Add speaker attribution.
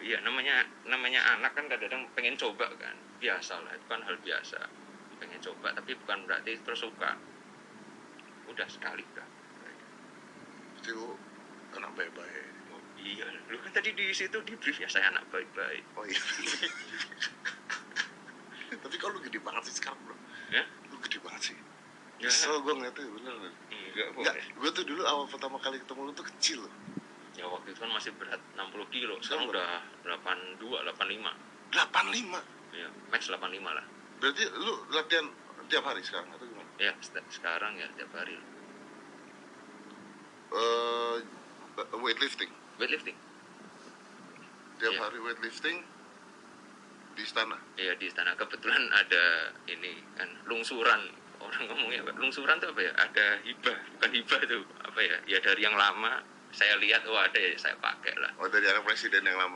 Speaker 1: ya namanya namanya anak kan kadang-kadang pengen coba kan biasa lah itu kan hal biasa pengen coba tapi bukan berarti terus suka udah sekali udah
Speaker 2: Jadi lu anak baik-baik.
Speaker 1: Oh, iya lu kan tadi di situ di briefnya saya anak baik-baik
Speaker 2: Oh iya. Tapi kalau lu gede banget sih sekarang bro.
Speaker 1: Ya?
Speaker 2: Lu gede banget sih.
Speaker 1: ya Iya.
Speaker 2: Kesel gue ngeliatnya bener.
Speaker 1: enggak kok
Speaker 2: Enggak, gue tuh dulu awal pertama kali ketemu lu tuh kecil loh.
Speaker 1: ya waktu itu kan masih berat 60 kilo sekarang
Speaker 2: Berapa?
Speaker 1: udah 82 85
Speaker 2: 85.
Speaker 1: ya max 85 lah
Speaker 2: Berarti lu latihan tiap hari sekarang atau gimana?
Speaker 1: ya se- sekarang ya tiap hari
Speaker 2: Eh weightlifting.
Speaker 1: weightlifting
Speaker 2: Tiap
Speaker 1: Iya.
Speaker 2: hari weightlifting di istana.
Speaker 1: ya di istana kebetulan ada ini kan lungsuran orang ngomongnya apa? lungsuran tuh apa ya ada hibah bukan hibah tuh apa ya ya dari yang lama saya lihat oh ada ya saya pakai lah
Speaker 2: Oh dari anak presiden yang lama.